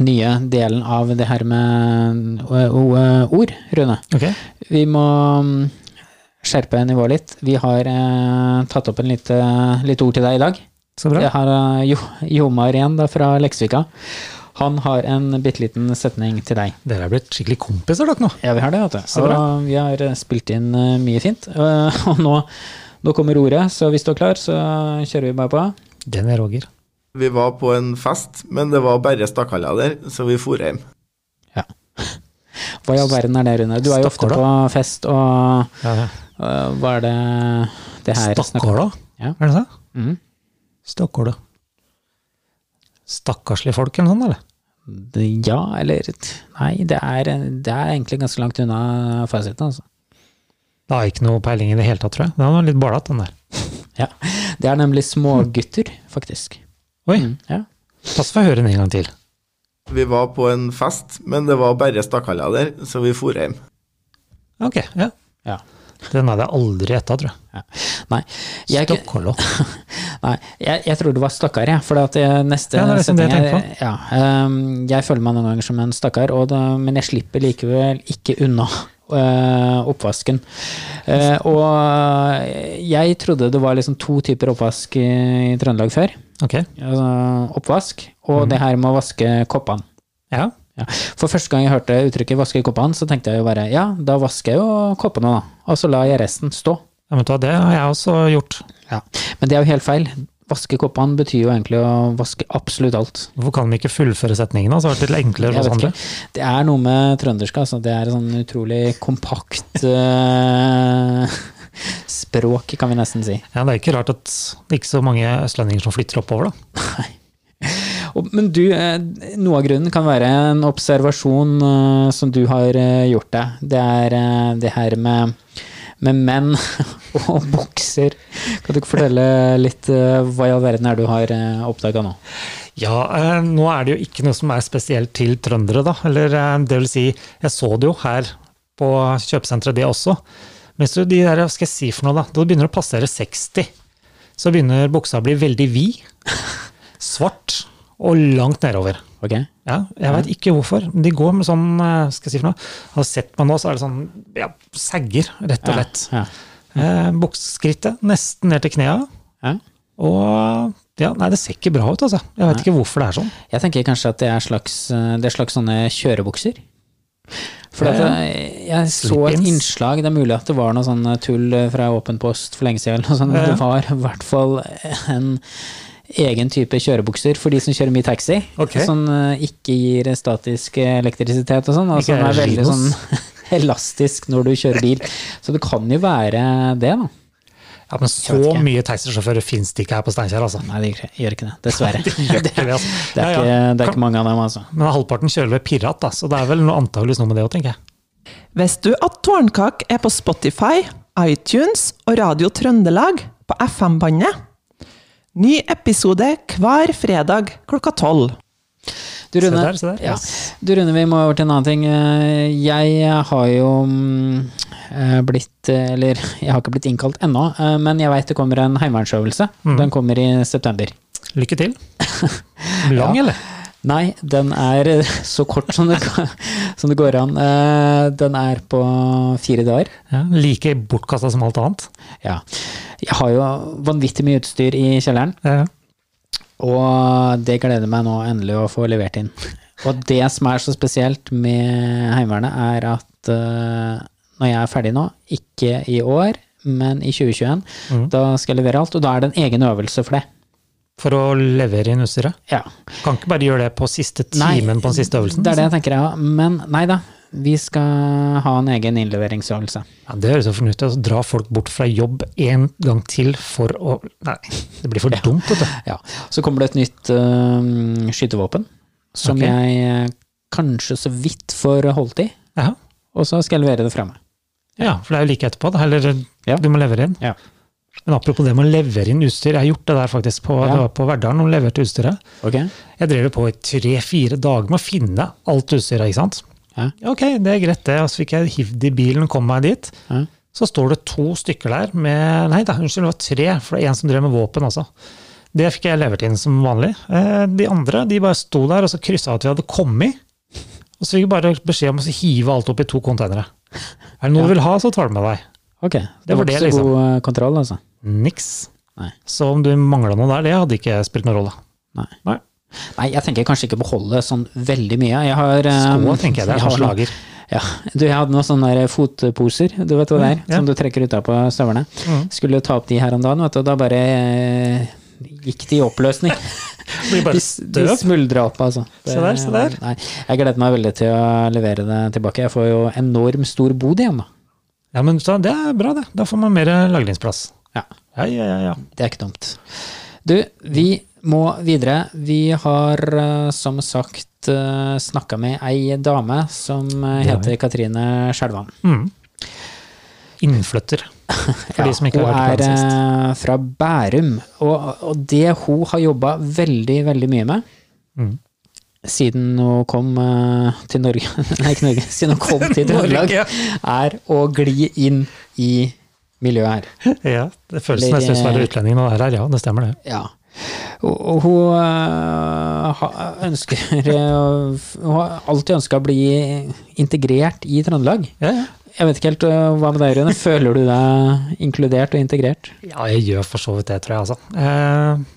C: nye delen av det her med ø, ø, ord, Rune.
A: Ok,
C: Vi må ø, skjerpe nivået litt. Vi har ø, tatt opp en lite, lite ord til deg i dag.
A: Så bra.
C: Jeg har ø, jo, Jomar igjen da, fra Leksvika. Han har en bitte liten setning til deg.
A: Dere er blitt skikkelig kompiser, dere nå.
C: Ja, vi har det, vet du.
A: Så bra.
C: Og vi har eh, spilt inn eh, mye fint. Eh, Og nå, nå kommer ordet, så hvis du er klar, så kjører vi bare på.
A: Den er Roger.
E: Vi var på en fest, men det var bare stakkaller der, så vi for hjem.
C: Hva i all verden er det, Rune? Du er jo ofte
A: Stakkar,
C: på fest, og
A: Ja, det.
C: øh, hva er det det her snakker-
A: Stakkåla,
C: Ja.
A: er det det?
C: Mhm.
A: Stakkåla. Stakkarslige folk, eller noe sånt, eller?
C: Det- Ja, eller Nei, det er, det er egentlig ganske langt unna fasiten, altså.
A: Det har jeg ikke noe peiling i det hele tatt, tror jeg. Den var litt barlatt, den der.
C: Ja. Det er nemlig smågutter, faktisk.
A: Oi,
C: Mm, ja.
A: pass for å høre den en gang til.
E: Vi var på en fest, men det var bare stakkaller der, så vi for hjem.
A: Ok, ja.
C: Ja.
A: Den hadde jeg aldri gjetta, tror jeg.
C: ja. Nei, jeg,
A: Stokkolo.
C: nei jeg, jeg tror det var stakkar, jeg. For at eh, neste
A: Ja, det er liksom det jeg
C: setning er- ja, ehm, jeg føler meg noen ganger som en stakkar, og det, men jeg slipper likevel ikke unna. eh, oppvasken. Eh, og jeg trodde det var liksom to typer oppvask i, i Trøndelag før.
A: Ok,
C: Altså, oppvask, og
A: Mhm.
C: det her med å vaske koppene.
A: ja.
C: Ja. For første gang jeg hørte uttrykket 'vaske koppene', så tenkte jeg jo bare ja, da vasker jeg jo koppene, da. Og så lar jeg resten stå.
A: ja men vet du hva, det har jeg også gjort.
C: Men det er jo helt feil. Vaske koppene betyr jo egentlig å vaske absolutt alt.
A: Hvorfor kan de ikke fullføre setningen? da? Så har det sånn vært litt enklere
C: Jeg
A: for oss
C: vet
A: andre.
C: ikke. Det er noe med trøndersk, altså. Det er sånn utrolig kompakt eh, språk, kan vi nesten si.
A: Ja, Det er ikke rart at det ikke er så mange østlendinger som flytter oppover, da.
C: Og, men du, eh, noe av grunnen kan være en observasjon eh, som du har eh, gjort deg. Det er eh, det her med, med menn og bokser. Kan du ikke fortelle litt eh, hva i all verden er du har oppdaga nå?
A: Ja, eh, nå er det jo ikke noe som er spesielt til trøndere, da. Eller eh, det vil si, jeg så det jo her på kjøpesenteret, det også. Mens du, de der, hva skal jeg si for noe, da? Da du begynner å passere 60, så begynner buksa å bli veldig vid, svart og langt nedover.
C: Ok?
A: Ja, jeg veit ikke hvorfor. men De går med sånn eh, skal jeg si for noe, har sett meg nå, så er det sånn ja, sagger, rett og slett.
C: Ja.
A: Eh, Bukseskrittet nesten ned til knea.
C: Ja.
A: Og ja, nei, det ser ikke bra ut, altså. Jeg veit ikke hvorfor det er sånn.
C: Jeg tenker kanskje at det er slags, eh, det er slags sånne kjørebukser. For at
A: Ja,
C: jeg, jeg så et
A: Slip-ins.
C: innslag, det er mulig at det var noe sånn tull fra Åpen post for lenge siden, eller noe sånt, men
A: Ja.
C: det var i hvert fall en egen type kjørebukser for de som kjører mye taxi,
A: Ok.
C: som eh, ikke gir statisk elektrisitet og sånn, og
A: Ikke
C: som er veldig sånn
A: Ginos.
C: elastisk når du kjører bil. Så det kan jo være det, da.
A: Ja, Men så
C: vet ikke.
A: mye taxisjåfører fins det ikke her på Steinkjer, altså.
C: Nei, det gjør ikke det, dessverre. Det
A: Gjør ikke det, altså.
C: er
A: Ja,
C: ikke,
A: ja.
C: det er ikke mange av dem, altså.
A: Men halvparten kjører ved pirat, da, så det er vel noe antakeligvis noe med det òg, tenker jeg.
D: Visste du at Tårnkak er på Spotify, iTunes og Radio Trøndelag på FM-bandet? Ny episode hver fredag klokka tolv.
C: Du, Rune,
A: Se der, se der.
C: Ja.
A: Yes.
C: du Rune, vi må over til en annen ting. Eh, Jeg har jo mm, eh, blitt, eh, eller jeg har ikke blitt innkalt ennå, eh, men jeg veit det kommer en heimevernsøvelse.
A: Mm.
C: Den kommer i september.
A: Lykke til. Lang, eller?
C: Nei, den er eh, så kort som det, kan- som det går an. Eh, Den er på fire dager.
A: Ja, like bortkasta som alt annet.
C: Ja. Jeg har jo vanvittig mye utstyr i kjelleren.
A: Ja, ja.
C: Og eh, det gleder jeg meg nå endelig å få levert inn. Og det som er så spesielt med Heimevernet, er at eh, når jeg er ferdig nå, ikke i år, men i 2021,
A: Mhm.
C: da skal jeg levere alt. Og da er det en egen øvelse for det.
A: For å levere inn utstyret.
C: Ja.
A: Kan ikke bare gjøre det på siste
C: Nei,
A: timen på den siste øvelsen.
C: Det er det jeg tenker, ja. Men nei da. Vi skal ha en egen innleveringsøvelse.
A: Ja, det høres jo fornuftig ut. å Dra folk bort fra jobb en gang til for å Nei, det blir for dumt, vet du.
C: Ja. Så kommer det et nytt eh, skytevåpen, som
A: Ok.
C: jeg eh, kanskje så vidt får holdt i.
A: Ja.
C: Og så skal jeg levere det fra meg.
A: ja, for det er jo like etterpå. da. Eller
C: Ja.
A: du må levere inn.
C: Ja.
A: Men apropos det med å levere inn utstyr. Jeg har gjort det der faktisk på,
C: Ja.
A: det var på Verdalen. og leverte utstyret. Jeg drev jo på i tre-fire dager med å finne alt utstyret, ikke sant.
C: Ja.
A: Ok, det er greit det. Og så fikk jeg hivd i bilen, kom meg dit.
C: Ja.
A: Så står det to stykker der med Nei da, unnskyld, det var tre, for det er en som drev med våpen også. Det fikk jeg levert inn som vanlig. Eh, De andre de bare sto der og så kryssa at vi hadde kommet. Og så fikk vi bare beskjed om å hive alt opp i to containere. Er det noe du vil ha, så tar du med deg.
C: Ok,
A: var
C: det var
A: det,
C: ikke så
A: liksom.
C: god eh, kontroll, altså.
A: Niks.
C: Nei.
A: Så om du mangla noe der, det hadde ikke spilt noen rolle.
C: Nei.
A: Nei.
C: Nei, jeg tenker kanskje ikke beholde sånn veldig mye. Jeg har eh,
A: Skoa tenker jeg det
C: jeg
A: er
C: har
A: slags
C: noe-
A: lager.
C: Ja, du, jeg hadde noen sånne der fotposer, du vet hva det er,
A: Mm, ja. Mm.
C: som du trekker ut av på støvlene. Skulle ta opp de her om dagen, vet du, og da bare eh, gikk de i oppløsning.
A: Blir
C: De,
A: bare
C: de
A: støv.
C: smuldrer opp, altså. Det-
A: Se der, se der.
C: Nei, jeg gleder meg veldig til å levere det tilbake. Jeg får jo enorm stor bod igjen, da.
A: Ja, men så, det er bra, det. Da får man mer lagringsplass.
C: Ja,
A: Ja, ja, ja. ja.
C: det er ikke dumt. Du, vi må videre. Vi har eh, som sagt snakka med ei dame som eh, heter Katrine Skjelvan.
A: Mm. Innflytter, for de som ikke har
C: hun
A: hørt på den sist.
C: er eh, fra Bærum, og, og det hun har jobba veldig, veldig mye med
A: Mm.
C: siden hun kom eh, til Norge Nei, ikke Norge, siden hun kom til Trøndelag,
D: ja.
C: er å gli inn i miljøet her.
A: Ja, det føles som jeg
C: Eller,
A: synes å være utlending når det er her, ja. Det stemmer, det.
C: Ja. Og, og hun øh, ha- ønsker øh, Hun har alltid ønska å bli integrert i Trøndelag.
A: Ja, ja.
C: Jeg vet ikke helt øh, hva med deg, Rune. Føler du deg inkludert og integrert?
A: Ja, jeg gjør for så vidt det, tror jeg, altså. Eh,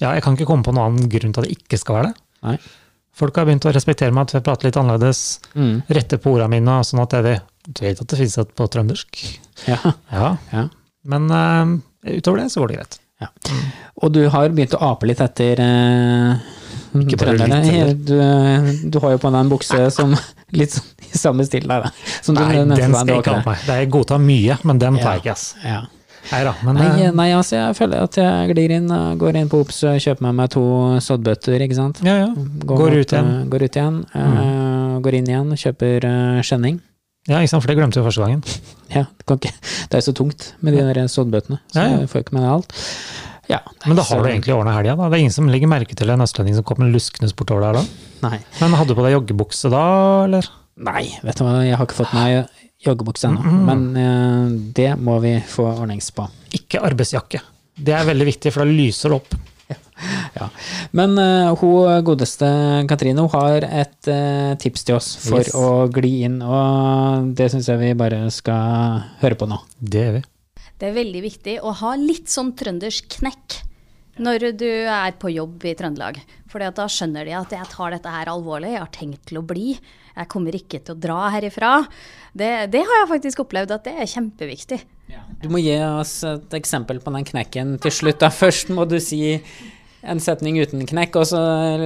A: ja, jeg kan ikke komme på noen annen grunn til at det ikke skal være det.
C: Nei.
A: Folk har begynt å respektere meg at jeg prater litt annerledes,
C: Mm.
A: rette på ordene mine, og sånn at jeg vet, du vet at det finnes et på trøndersk.
C: Ja.
A: Ja,
C: ja.
A: men eh, utover det så går det greit.
C: Og du har begynt å ape litt etter eh,
A: Ikke bare litt,
C: trønderne.
A: heller.
C: Du, eh, du har jo på deg en bukse som litt sånn i samme stil der, da. Som du
A: Nei,
C: nevnte
A: den
C: for meg,
A: skal jeg
C: det var
A: ikke ha
C: ikke
A: på meg. Det er- Jeg godtar mye, men den
C: Ja.
A: tar jeg ikke, ass.
C: det. Ja.
A: Nei da, men
C: Nei,
A: eh,
C: nei, altså jeg føler at jeg glir inn, eh, går inn på Ops, kjøper med meg to soddbøtter, ikke sant.
A: ja, ja. Går ut igjen. Mm.
C: eh, Går ut igjen, eh, går inn igjen, kjøper eh, skjenning.
A: ja, ikke sant, for det glemte vi første gangen.
C: Ja, det, kan ikke, det er jo så tungt med de der soddbøttene, så
A: Ja, ja.
C: jeg får ikke med deg alt. Ja,
A: Men da
C: nei,
A: har
C: så-
A: du egentlig ordna helga, da. Det er ingen som legger merke til en østlending som kommer luskende bortover der da.
C: Nei.
A: Men hadde du på deg joggebukse da, eller?
C: Nei, vet du hva, jeg har ikke fått meg joggebukse ennå,
A: Mm.
C: men eh, det må vi få ordnings på.
A: Ikke arbeidsjakke. Det er veldig viktig, for da lyser det opp.
C: Ja. Men eh, hun godeste Katrine hun har et eh, tips til oss for
A: Yes.
C: å gli inn, og det syns jeg vi bare skal høre på nå.
A: Det gjør vi.
G: Det er veldig viktig å ha litt sånn trøndersk knekk når du er på jobb i Trøndelag. For da skjønner de at jeg tar dette her alvorlig, jeg har tenkt til å bli. Jeg kommer ikke til å dra herifra. Det, det har jeg faktisk opplevd at det er kjempeviktig.
C: Du må gi oss et eksempel på den knekken til slutt. da. Først må du si en setning uten knekk, og så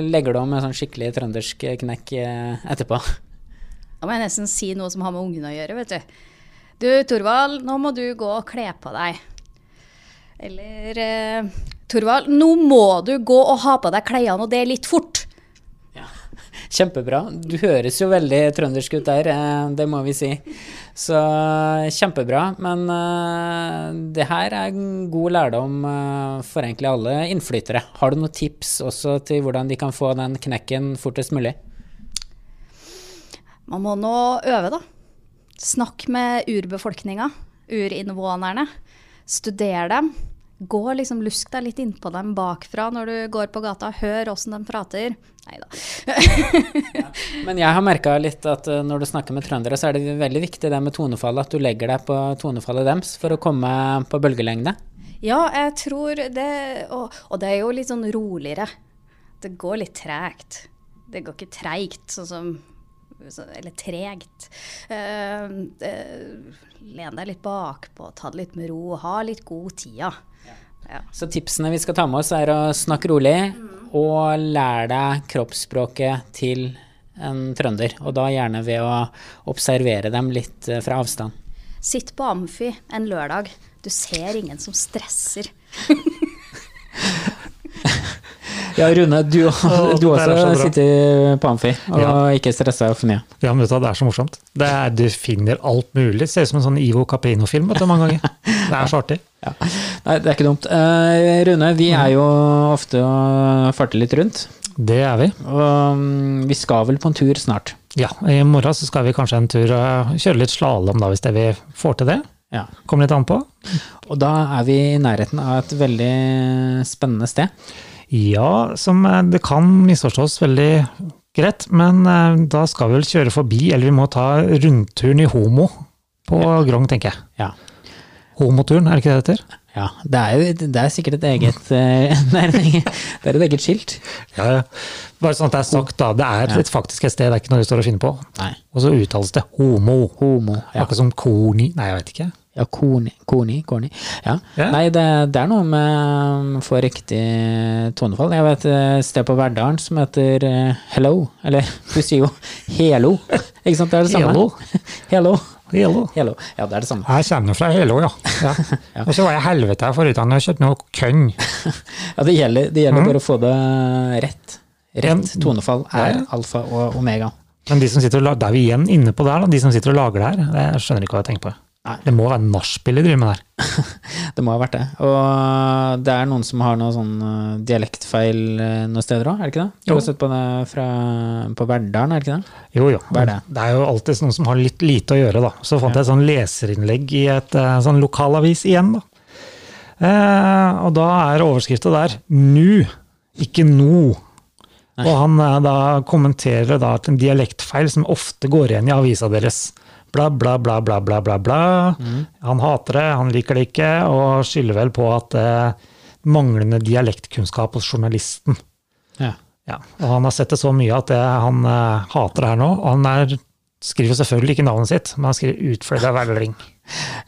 C: legger du om en sånn skikkelig trøndersk knekk eh, etterpå.
G: Da må jeg nesten si noe som har med ungene å gjøre, vet du. Du, Torvald, nå må du gå og kle på deg. Eller eh, Torvald, nå må du gå og ha på deg klærne, og det er litt fort.
C: Kjempebra. Du høres jo veldig trøndersk ut der, eh, det må vi si. Så eh, kjempebra. Men eh, det her er en god lærdom eh, for egentlig alle innflyttere. Har du noen tips også til hvordan de kan få den knekken fortest mulig?
G: Man må nå øve, da. Snakk med urbefolkninga, urinnvånerne. Studer dem. Gå liksom Lusk deg litt innpå dem bakfra når du går på gata. Hør åssen de prater. Nei da.
C: Men jeg har merka litt at eh, når du snakker med trøndere, så er det veldig viktig det med tonefallet, at du legger deg på tonefallet deres for å komme på bølgelengde.
G: ja, jeg tror det og, og det er jo litt sånn roligere. Det går litt tregt. Det går ikke treigt, sånn som så- Eller tregt. Eh, eh, len deg litt bakpå, ta det litt med ro, ha litt god tida. Ja.
C: Så tipsene vi skal ta med oss, er å snakke rolig og lære deg kroppsspråket til en trønder. Og da gjerne ved å observere dem litt eh, fra avstand.
G: Sitt på Amfi en lørdag. Du ser ingen som stresser.
C: Ja, Rune, du,
A: Å,
C: du
A: det her er
C: også
A: så bra.
C: sitter på Amfi og
A: Ja.
C: ikke stressa for mye.
A: Ja, men vet du hva, det er så morsomt. Det er, du finner alt mulig. Ser ut som en sånn Ivo Caprino-film vet du, mange ganger. Det er så artig.
C: Nei, det er ikke dumt. Eh, Rune, vi er jo ofte og farter litt rundt.
A: Det er vi.
C: Og mm, vi skal vel på en tur snart.
A: Ja, i morgen så skal vi kanskje en tur og kjøre litt slalåm, da, hvis det vi får til det.
C: Ja.
A: Kommer litt an på.
C: Og da er vi i nærheten av et veldig spennende sted.
A: Ja, som eh, det kan misforstås veldig greit, men eh, da skal vi vel kjøre forbi, eller vi må ta rundturen i Homo på Grong, tenker jeg.
C: Ja.
A: Homoturen, er det ikke det det heter?
C: Ja, det er, jo, det er sikkert et eget eh, Det er et eget, det er et eget skilt.
A: Ja, ja. Bare sånn at det er sagt, da. Det er et faktisk et sted, det er ikke noe du står og finner på.
C: Nei.
A: Og så uttales det homo.
C: Homo. Ja.
A: Akkurat som koni Nei, jeg vet ikke.
C: Ja, corny. Corny. corny. Ja.
A: Ja.
C: Nei, det, det er noe med å få riktig tonefall. Jeg vet et sted på Verdalen som heter eh, Hello. Eller du sier jo Helo. Ikke sant? Det er det samme.
A: Hello.
C: Hello.
A: Hello.
C: Hello. Ja, det er det samme.
A: Jeg kommer fra Hello, ja. ja. Og så var jeg helvete her forut, jeg kjøpte noe kønn.
C: Ja, det gjelder, det gjelder bare å få det rett. Rett
A: Mhm. Ja.
C: tonefall er
A: Ja.
C: alfa og omega.
A: Men de som sitter og lager, da er vi igjen inne på det her, da. de som sitter og lager det her, jeg skjønner ikke hva jeg tenker på.
C: Nei.
A: Det må være nachspiel de driver med der.
C: Det må ha vært det. Og eh, det er noen som har noe sånn eh, dialektfeil eh, noen steder òg, er det ikke det? Du
A: Jo.
C: har sett på det fra, på Verdalen, er det ikke det?
A: Jo, jo.
C: Hva er det?
A: det er jo alltid noen som har litt lite å gjøre, da. Så fant jeg et sånn leserinnlegg i et eh, sånn lokalavis igjen, da. Eh, og da er overskrifta der 'nu', ikke 'no'. Og han eh, da kommenterer da til en dialektfeil som ofte går igjen i avisa deres. Bla, bla, bla, bla, bla, bla. bla.
C: Mm.
A: Han hater det, han liker det ikke, og skylder vel på at eh, manglende dialektkunnskap hos journalisten.
C: Ja.
A: Ja, og han har sett det så mye at det, han eh, hater det her nå. Og han er, skriver selvfølgelig ikke navnet sitt, men han skriver utfløyd av velling.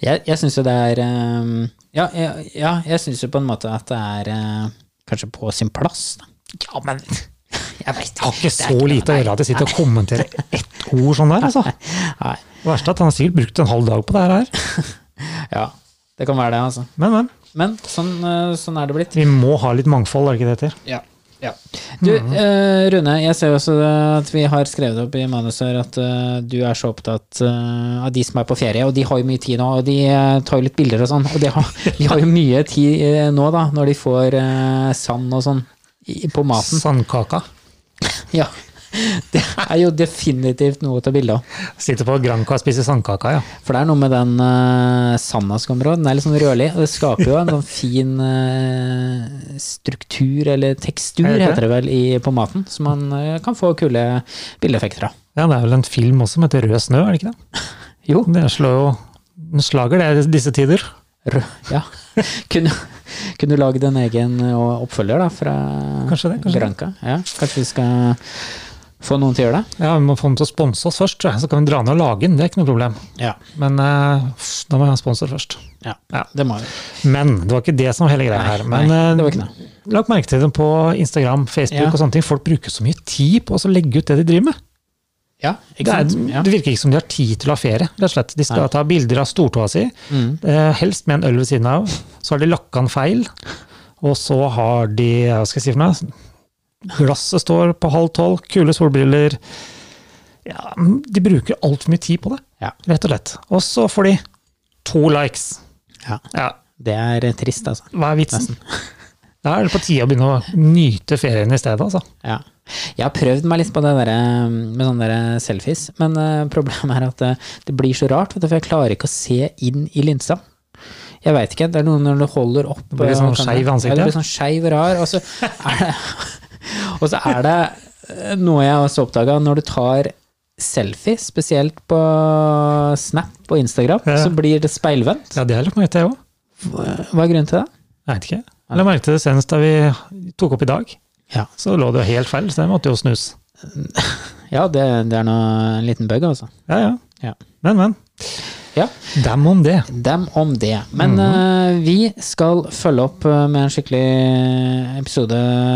C: Jeg, jeg syns jo det er eh, Ja, jeg, ja, jeg syns jo på en måte at det er eh, kanskje på sin plass, da.
A: Ja, men
C: Jeg vet
A: har ikke så lite å gjøre at jeg sitter og kommenterer ett ord sånn der, altså.
C: Nei.
A: Det verste er at han har sikkert brukt en halv dag på det her.
C: Ja, det kan være det, altså.
A: Men, men.
C: Men sånn, eh, sånn er det blitt.
A: Vi må ha litt mangfold, er det ikke det det heter?
C: Ja. Du, eh, Rune, jeg ser jo også at vi har skrevet opp i manuset her at eh, du er så opptatt eh, av de som er på ferie, og de har jo mye tid nå, og de eh, tar jo litt bilder og sånn, og de har, de har jo mye tid eh, nå, da, når de får eh, sand og sånn i- på maten.
A: Sandkaka.
C: Ja. Det er jo definitivt noe å ta bilde av.
A: Sitter på Granca og spiser sandkaka, ja.
C: For det er noe med den eh, sanda som kommer òg. Den er litt sånn rødlig, og det skaper jo en sånn fin eh, struktur, eller tekstur,
A: Er det det?
C: heter det vel, i, på maten, som man eh, kan få kule bildeeffekter av.
A: Ja, det er vel en film også som heter Rød snø, er det ikke det? Jo. Det slår jo den slager det i disse tider.
C: Rød, ja. Kunne, kunne du lagd en egen eh, oppfølger, da, fra
A: Kanskje det, kanskje det.
C: Granca? Ja, kanskje vi skal få noen til å gjøre det?
A: Ja, Vi må få dem til å sponse oss først, tror jeg. så kan vi dra ned og lage den. Det er ikke noe problem.
C: Ja.
A: Men eh, da må vi ha en sponsor først.
C: ja.
A: Ja.
C: Det må vi.
A: Men det var ikke det som var hele greia her.
C: Nei,
A: Men
C: det
A: eh,
C: var ikke det.
A: lagt merke til det på Instagram, Facebook
C: Ja.
A: og sånne ting. Folk bruker så mye tid på å så legge ut det de driver med.
C: Ja,
A: Det,
C: ikke
A: er,
C: sant? Ja.
A: det virker ikke som de har tid til å ha ferie. rett og slett. De skal
C: Nei. Mm.
A: ta bilder av stortåa si, eh, helst med en øl ved siden av. Så har de lakka den feil, og så har de hva skal jeg si for noe, Glasset står på halv tolv, kule solbriller ja, De bruker altfor mye tid på det,
C: Ja.
A: rett og slett. Og så får de to likes.
C: Ja.
A: Ja,
C: Det er trist, altså.
A: Hva er vitsen? Da er det på tide å begynne å nyte ferien i stedet, altså.
C: Ja. Jeg har prøvd meg litt på det der, eh, med sånne der selfies, men eh, problemet er at eh, det blir så rart, vet du, for jeg klarer ikke å se inn i linsa. Jeg veit ikke, det er noe når du holder opp
A: blir
C: eh,
A: sånn
C: kameraet.
A: skeiv i ansiktet.
C: Ja, det blir sånn skeiv og rar, og så er det, og så er det eh, noe jeg også oppdaga, når du tar selfie, spesielt på Snap og Instagram,
A: Ja.
C: så blir det speilvendt.
A: Ja, det har jeg lagt merke til, jeg òg.
C: Hva er grunnen til det?
A: Jeg vet ikke. Jeg la merke til det senest da vi tok opp i dag.
C: Ja,
A: Så lå det jo helt feil, så det måtte jo snus.
C: ja det, det er nå en liten bug, altså.
A: Ja, ja.
C: Ja.
A: Men, men.
C: ja.
A: Dem om det.
C: Dem om det. Men
A: Mhm.
C: eh, vi skal følge opp eh, med en skikkelig episode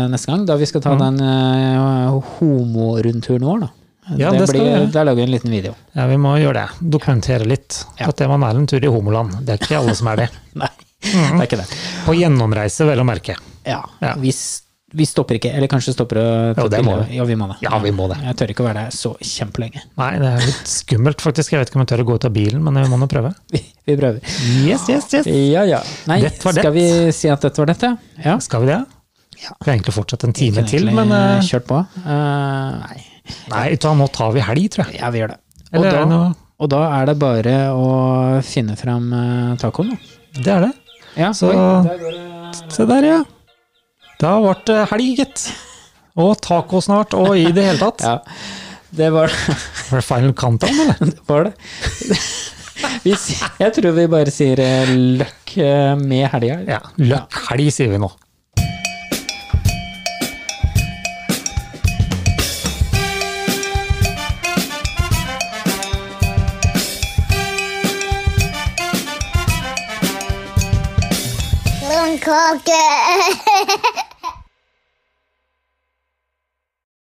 C: neste gang, da vi
A: Mhm.
C: skal ta den uh, homorundturen vår, da.
A: Ja, det skal vi gjøre.
C: Der lager vi en liten video.
A: Ja, vi må gjøre det. Dokumentere litt.
C: Ja.
A: At det man er en tur i homoland. Det er ikke alle som er det.
C: Nei, det er ikke det.
A: På gjennomreise, vel å merke.
C: Ja,
A: Mhm. Ja.
C: Vi, s- vi stopper ikke, eller kanskje stopper å ta
A: Jo, det må
C: bilder.
A: vi.
C: Ja, vi må det.
A: Ja, vi må det.
C: Jeg tør ikke å være der så kjempelenge.
A: Nei, det er litt skummelt, faktisk. Jeg vet ikke om jeg tør å gå ut av bilen, men vi må nå prøve.
C: Vi, vi prøver.
A: Yes, yes, yes.
C: Ja, ja. Nei,
A: Dette var
C: skal
A: det.
C: vi si at dette var dette? Ja.
A: Skal vi det?
C: Ja.
A: Vi kan egentlig fortsette en time
C: Kunne
A: til,
C: egentlig
A: men eh,
C: Kjørt på. Eh, nei.
A: Nei, vet du hva, nå tar vi helg, tror jeg.
C: Ja, vi gjør det. Og
A: Eller er det
C: da,
A: noe-
C: og da er det bare å finne fram eh, tacoen, da.
A: Det er det.
C: Ja,
A: Så- Se der, ja. Da ble det helg, gitt. Og taco snart, og i det hele tatt.
C: Ja. det var,
A: Var det final countdown, eller?
C: det var det. Vi, si- jeg tror vi bare sier eh, løkk eh, med helga.
A: Ja. Løkk helg, sier vi nå.
B: kake.